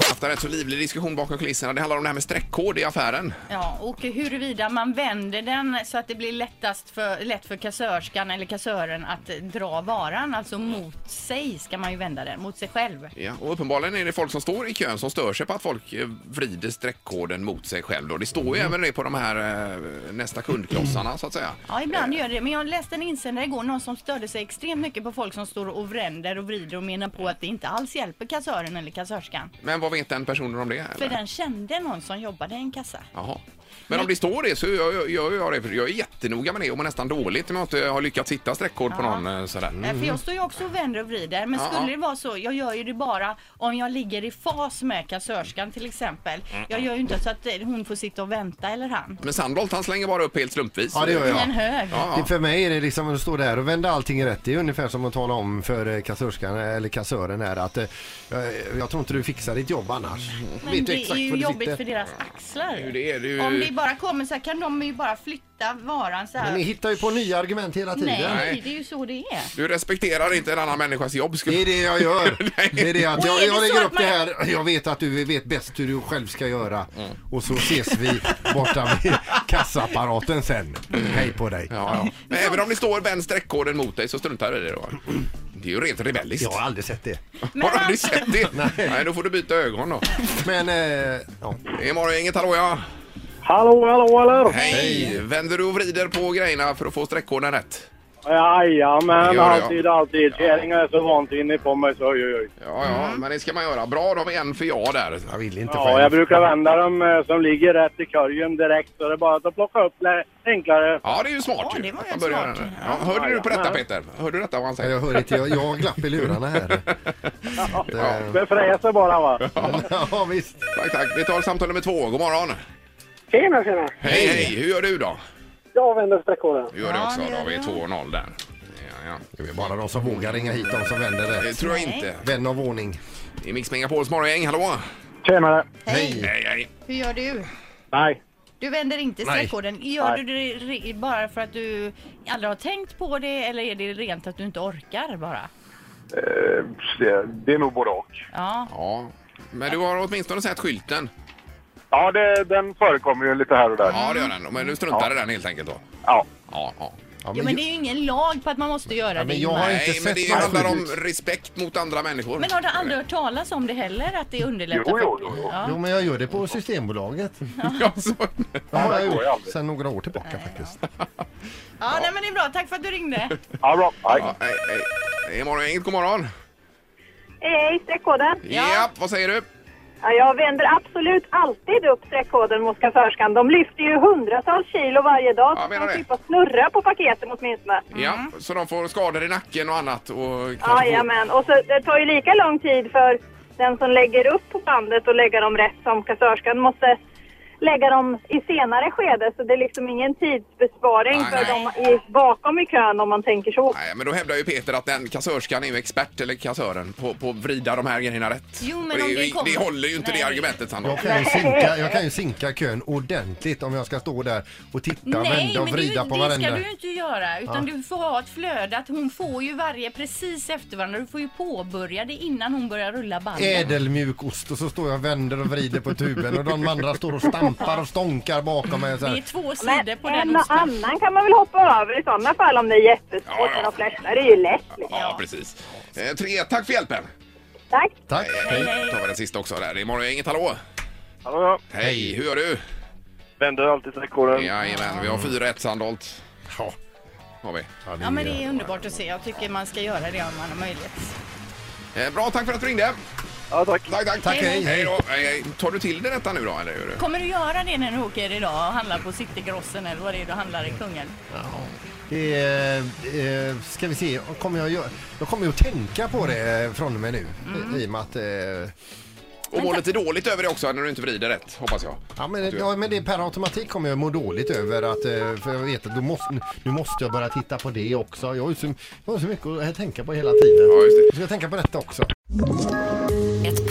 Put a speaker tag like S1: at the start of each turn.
S1: ofta rätt så livlig diskussion bakom kulisserna. Det handlar om det här med streckkod i affären.
S2: Ja, och huruvida man vänder den så att det blir lättast för, lätt för kassörskan eller kassören att dra varan. Alltså mot sig ska man ju vända den, mot sig själv.
S1: Ja, och uppenbarligen är det folk som står i kön som stör sig på att folk eh, vrider streckkoden mot sig själv. Då. Det står ju
S3: Mm.
S1: även det på de här eh, nästa kundklossarna så att säga.
S2: Ja, ibland gör det Men jag läste en insändare igår, någon som störde sig extremt mycket på folk som står och vränder och vrider och menar på att det inte alls hjälper kassören eller kassörskan.
S1: Eh, Men vad vet den personen om det?
S2: För
S1: eller?
S2: den kände någon som jobbade i en kassa.
S1: Jaha. Men om det står det så gör jag, gör jag det. för Jag är jättenoga med det och mår nästan dåligt om jag inte har lyckats hitta streckkod på någon. eh, Sådär.
S2: Nej, För jag står ju också och vänder och vrider. Men
S1: Ja,
S2: skulle
S1: ja.
S2: det vara så, jag gör ju det bara om jag ligger i fas med kassörskan till exempel. Jag gör ju inte så att eh, hon får sitta och vänta eller han.
S1: Men Sandholt han slänger bara upp helt slumpvis.
S3: Ja, det gör jag.
S2: I en hög.
S1: Ja,
S3: Det, för mig är det liksom att stå där och vända allting rätt. Det är ungefär som att tala om för eh, kassörskan eh, eller kassören här att eh, jag- jag tror inte du fixar ditt jobb annars. Vet
S2: Mm. Men
S3: du
S2: det är
S3: exakt
S2: ju
S3: var du
S2: jobbigt
S3: sitter?
S2: för deras axlar.
S1: ju det, det är ju-
S2: Om det bara kommer så här kan de ju bara flytta varan så här.
S3: Men ni hittar ju på nya argument hela tiden.
S2: Nej,
S1: Nej.
S2: det är ju så det är.
S1: Du respekterar inte en annan människas jobb skulle
S3: Det är det jag gör. Det är det att
S2: Och är
S3: jag,
S2: det
S3: jag
S2: så
S3: lägger
S2: att
S3: upp
S2: man- Mm.
S3: det här. Jag vet att du vet bäst hur du själv ska göra. Och så ses vi borta vid kassaapparaten sen.
S2: Mm.
S3: Hej på dig.
S1: Ja, ja. Men även om det står vänd streckkoden mot dig så struntar du i det då? Det är ju rent rebelliskt.
S3: Jag har aldrig sett det.
S1: Har du
S2: Men
S1: aldrig
S2: alltså-
S1: sett det? Nej. då får du byta ögon då.
S3: Men eh, ja.
S1: Det är morgongänget, hallå ja!
S4: Hallå, hallå, hallå!
S1: Hej. Vänder du och vrider på grejerna för att få streckkoden rätt? Gör
S4: Jajamän,
S1: det, ja.
S4: alltid, alltid. Kärringar är så vansinnig på mig så oj, oj, oj.
S1: Ja, ja,
S2: Mm.
S1: men det ska man göra. Bra, då har vi en för ja där.
S3: Jag vill inte
S4: Ja, jag
S3: själv.
S4: brukar vända dem eh, som ligger rätt i korgen direkt så det är bara att plocka upp lä- enklare.
S1: Ja, det är ju smart
S2: Ja,
S1: ju,
S2: det var
S1: att
S2: ju
S1: man börjar
S2: smart.
S1: med det. Ja, hörde du på detta
S4: Jajamän.
S1: Peter? Hörde du detta vad han
S3: Jag
S1: säger?
S3: hör inte, jag, jag har glapp i lurarna här. Det-
S4: Det fräser bara va.
S3: Ja, visst.
S1: Tack, tack. Vi tar samtal nummer två. God morgon.
S5: Tjena, tjena!
S1: Hej, hej. Hur gör du då?
S5: Jag vänder streckkoden.
S1: Du gör det
S2: Ja,
S1: också.
S2: det
S1: Då
S2: gör
S1: har vi
S2: jag.
S1: 2-0 där. Ja, ja.
S3: Det är bara de som vågar ringa hit, de som vänder
S1: Det
S3: rätt.
S1: tror jag
S2: Nej.
S1: inte.
S3: Vän av ordning.
S1: I Mix Megapols morgongäng, hallå?
S4: Tjena.
S3: Hej!
S1: Hej, hej.
S2: Hur gör du?
S4: Nej.
S2: Du vänder inte
S3: Nej.
S2: streckkoden. Gör du det re- bara för att du aldrig har tänkt på det eller är det rent att du inte orkar bara?
S6: Eh, Det, det är nog både och.
S2: Ja.
S1: Ja. Men du har åtminstone sett skylten?
S6: Ja, det, den förekommer ju lite här och där.
S1: Ja, det gör den. Men du struntar i den helt enkelt då?
S6: Ja.
S1: Ja, ja.
S3: Ja,
S2: Jo, men det är ju ingen lag på att man måste göra det.
S3: men jag har
S2: Ingmar.
S3: inte
S1: Nej, men
S3: sett
S1: det
S3: någon
S1: handlar om
S3: skylt.
S1: respekt mot andra människor.
S2: Men har du aldrig hört talas om det heller? Att det underlättar?
S6: Jo, jo,
S2: för-
S6: jo, jo.
S3: Jo,
S2: Ja.
S3: men jag gör det på Systembolaget.
S1: Ja, så-
S3: Det har jag
S6: det går ju
S3: gjort
S6: aldrig.
S3: sen några år tillbaka faktiskt.
S2: ja, nej men det är bra. Tack för att du ringde.
S6: Ja, bra. Nej.
S1: Ja, hej, hej. Hej, morgongänget. God morgon.
S5: Hej, hej, streckkoden!
S1: Ja. vad säger du?
S5: Ja, jag vänder absolut alltid upp streckkoden mot kassörskan. De lyfter ju hundratals kilo varje dag.
S1: Ja,
S5: så
S1: menar
S5: de
S1: det.
S5: slipper snurra på paketen åtminstone.
S1: Ja,
S2: Mm.
S1: så de får skador i nacken och annat. Och kanske får-
S5: Jajamän, och så, det tar ju lika lång tid för den som lägger upp på bandet och lägger dem rätt som kassörskan måste lägga dem i senare skede. Så det är liksom ingen tidsbesparing
S1: Nej,
S5: för
S1: nej.
S5: de i, bakom i kön om man tänker så.
S1: Nej, men då hävdar ju Peter att den kassörskan är ju expert, eller kassören, på på att vrida de här grejerna rätt.
S2: Jo, men
S1: Och det,
S2: om
S1: är ju-
S2: det kommer-
S1: det håller ju inte
S2: Nej.
S1: det argumentet, Sandra.
S3: Jag kan, ju sinka, jag kan ju sinka kön ordentligt om jag ska stå där och titta,
S2: Nej,
S3: vända och
S2: men det, är ju-
S3: vrida på
S2: det ska
S3: varenda.
S2: du ju inte göra. Utan du får ha ett flöde att hon får ju varje precis efter varandra. Du får ju påbörja det innan hon börjar rulla bandet.
S3: Ädelmjuk ost och så står jag och vänder och vrider på tuben och de andra står och stampar och stonkar bakom mig. och Så
S2: Det är
S3: här.
S2: två sidor
S5: Men
S2: på
S5: en
S2: den
S5: och
S2: osten.
S5: annan kan man väl hoppa över i sådana fall om det är jättesvårt.
S1: Ja, ja.
S5: Men de flesta är det ju lätt. Liksom.
S1: Ja, precis. Eh, tre, tack för hjälpen.
S5: Tack!
S3: Tack! Hej.
S1: Då tar vi den sista också där. Det är morgongänget, hallå?
S4: Hallå, ja.
S1: Hej, hur gör du?
S4: Vänder alltid streckkoden.
S1: Jajamän, vi har 4-1 Sandholt. Ja, har vi.
S2: Ja, men det är underbart att se. Jag tycker man ska göra det om man har möjlighet.
S1: Eh, Bra, tack för att du ringde.
S4: Ja, tack.
S1: Tack, tack.
S3: Tack, hej.
S1: hej. då. Hej, hej. Tar du till dig detta nu då, eller hur?
S2: Kommer du göra det när du åker idag och handlar på Citygrossen eller vad det är du handlar i Kungälv?
S3: Det är, eh, ska vi se, kommer jag, gö- jag kommer ju att tänka på det eh, från och med nu. I och med att... Eh,
S1: Och mår lite dåligt över det också när du inte vrider rätt, hoppas jag.
S3: ja, men, ja, men det är per automatik kommer jag må dåligt över att... Eh, för jag vet att då måste, nu måste jag börja titta på det också. Jag har ju så, jag har så mycket att tänka på hela tiden.
S1: Ja, just det.
S3: Så ska jag tänka på detta också.
S7: Ett